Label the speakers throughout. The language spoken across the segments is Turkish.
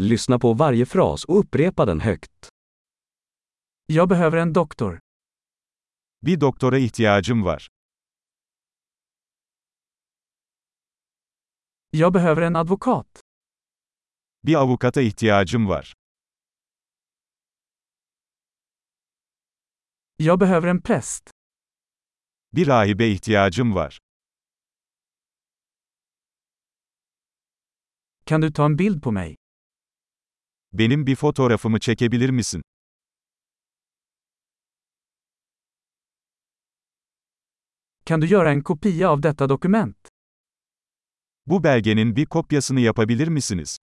Speaker 1: Lyssna på varje fras och upprepa den högt.
Speaker 2: Jag behöver en doktor.
Speaker 3: Bir doktora ihtiyacım var.
Speaker 2: Jag behöver en advokat.
Speaker 3: Bir avukata ihtiyacım var.
Speaker 2: Jag behöver en präst.
Speaker 3: Bir rahibe ihtiyacım var.
Speaker 2: Kan du ta en bild på mig?
Speaker 3: Benim bir fotoğrafımı çekebilir misin?
Speaker 2: Kan du göra en kopia av detta dokument?
Speaker 3: Bu belgenin bir kopyasını yapabilir misiniz?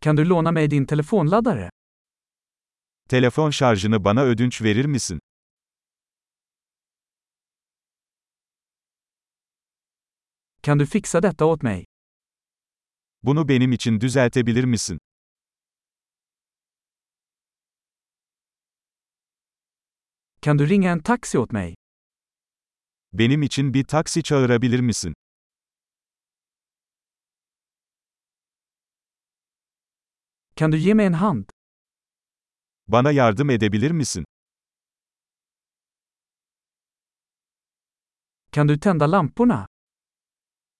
Speaker 2: Kan du låna mig din telefonladdare?
Speaker 3: Telefon şarjını bana ödünç verir misin?
Speaker 2: Kan du fixa detta åt mig?
Speaker 3: Bunu benim için düzeltebilir misin?
Speaker 2: Kan du ringa en taxi åt mig?
Speaker 3: Benim için bir taksi çağırabilir misin?
Speaker 2: Kan du ge mig en hand?
Speaker 3: Bana yardım edebilir misin?
Speaker 2: Kan du tända lamporna?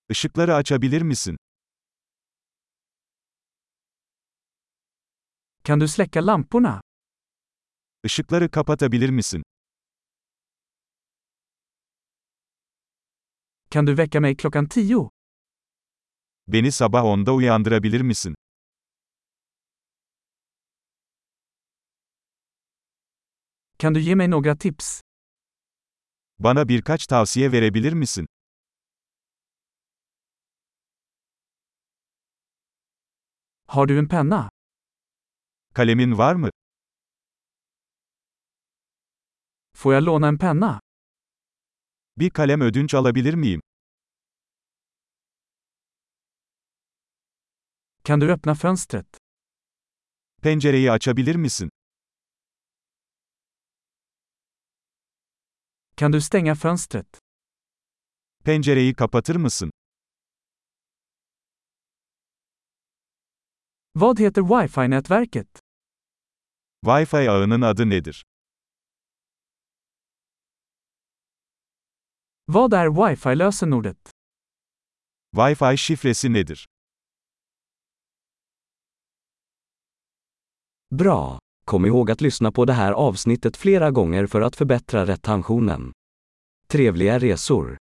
Speaker 3: Işıkları açabilir misin?
Speaker 2: Kan du släcka lamporna?
Speaker 3: Işıkları kapatabilir misin?
Speaker 2: Kan du väcka mig klockan tio?
Speaker 3: Beni sabah 10'da uyandırabilir misin?
Speaker 2: Kan du ge mig några tips?
Speaker 3: Bana birkaç tavsiye verebilir misin?
Speaker 2: Har du en penna?
Speaker 3: Kalemin var mı?
Speaker 2: Får jag låna en penna?
Speaker 3: Bir kalem ödünç alabilir miyim?
Speaker 2: Kan du öppna fönstret?
Speaker 3: Pencereyi açabilir misin?
Speaker 2: Kan du stänga fönstret?
Speaker 3: Pencereyi kapatır mısın?
Speaker 2: Vad heter wifi-nätverket?
Speaker 3: Wi-Fi ağının adı nedir?
Speaker 2: Vad är wifi-lösenordet?
Speaker 3: Wi-Fi şifresi nedir?
Speaker 1: Bra! Kom ihåg att lyssna på det här avsnittet flera gånger för att förbättra retentionen. Trevliga resor!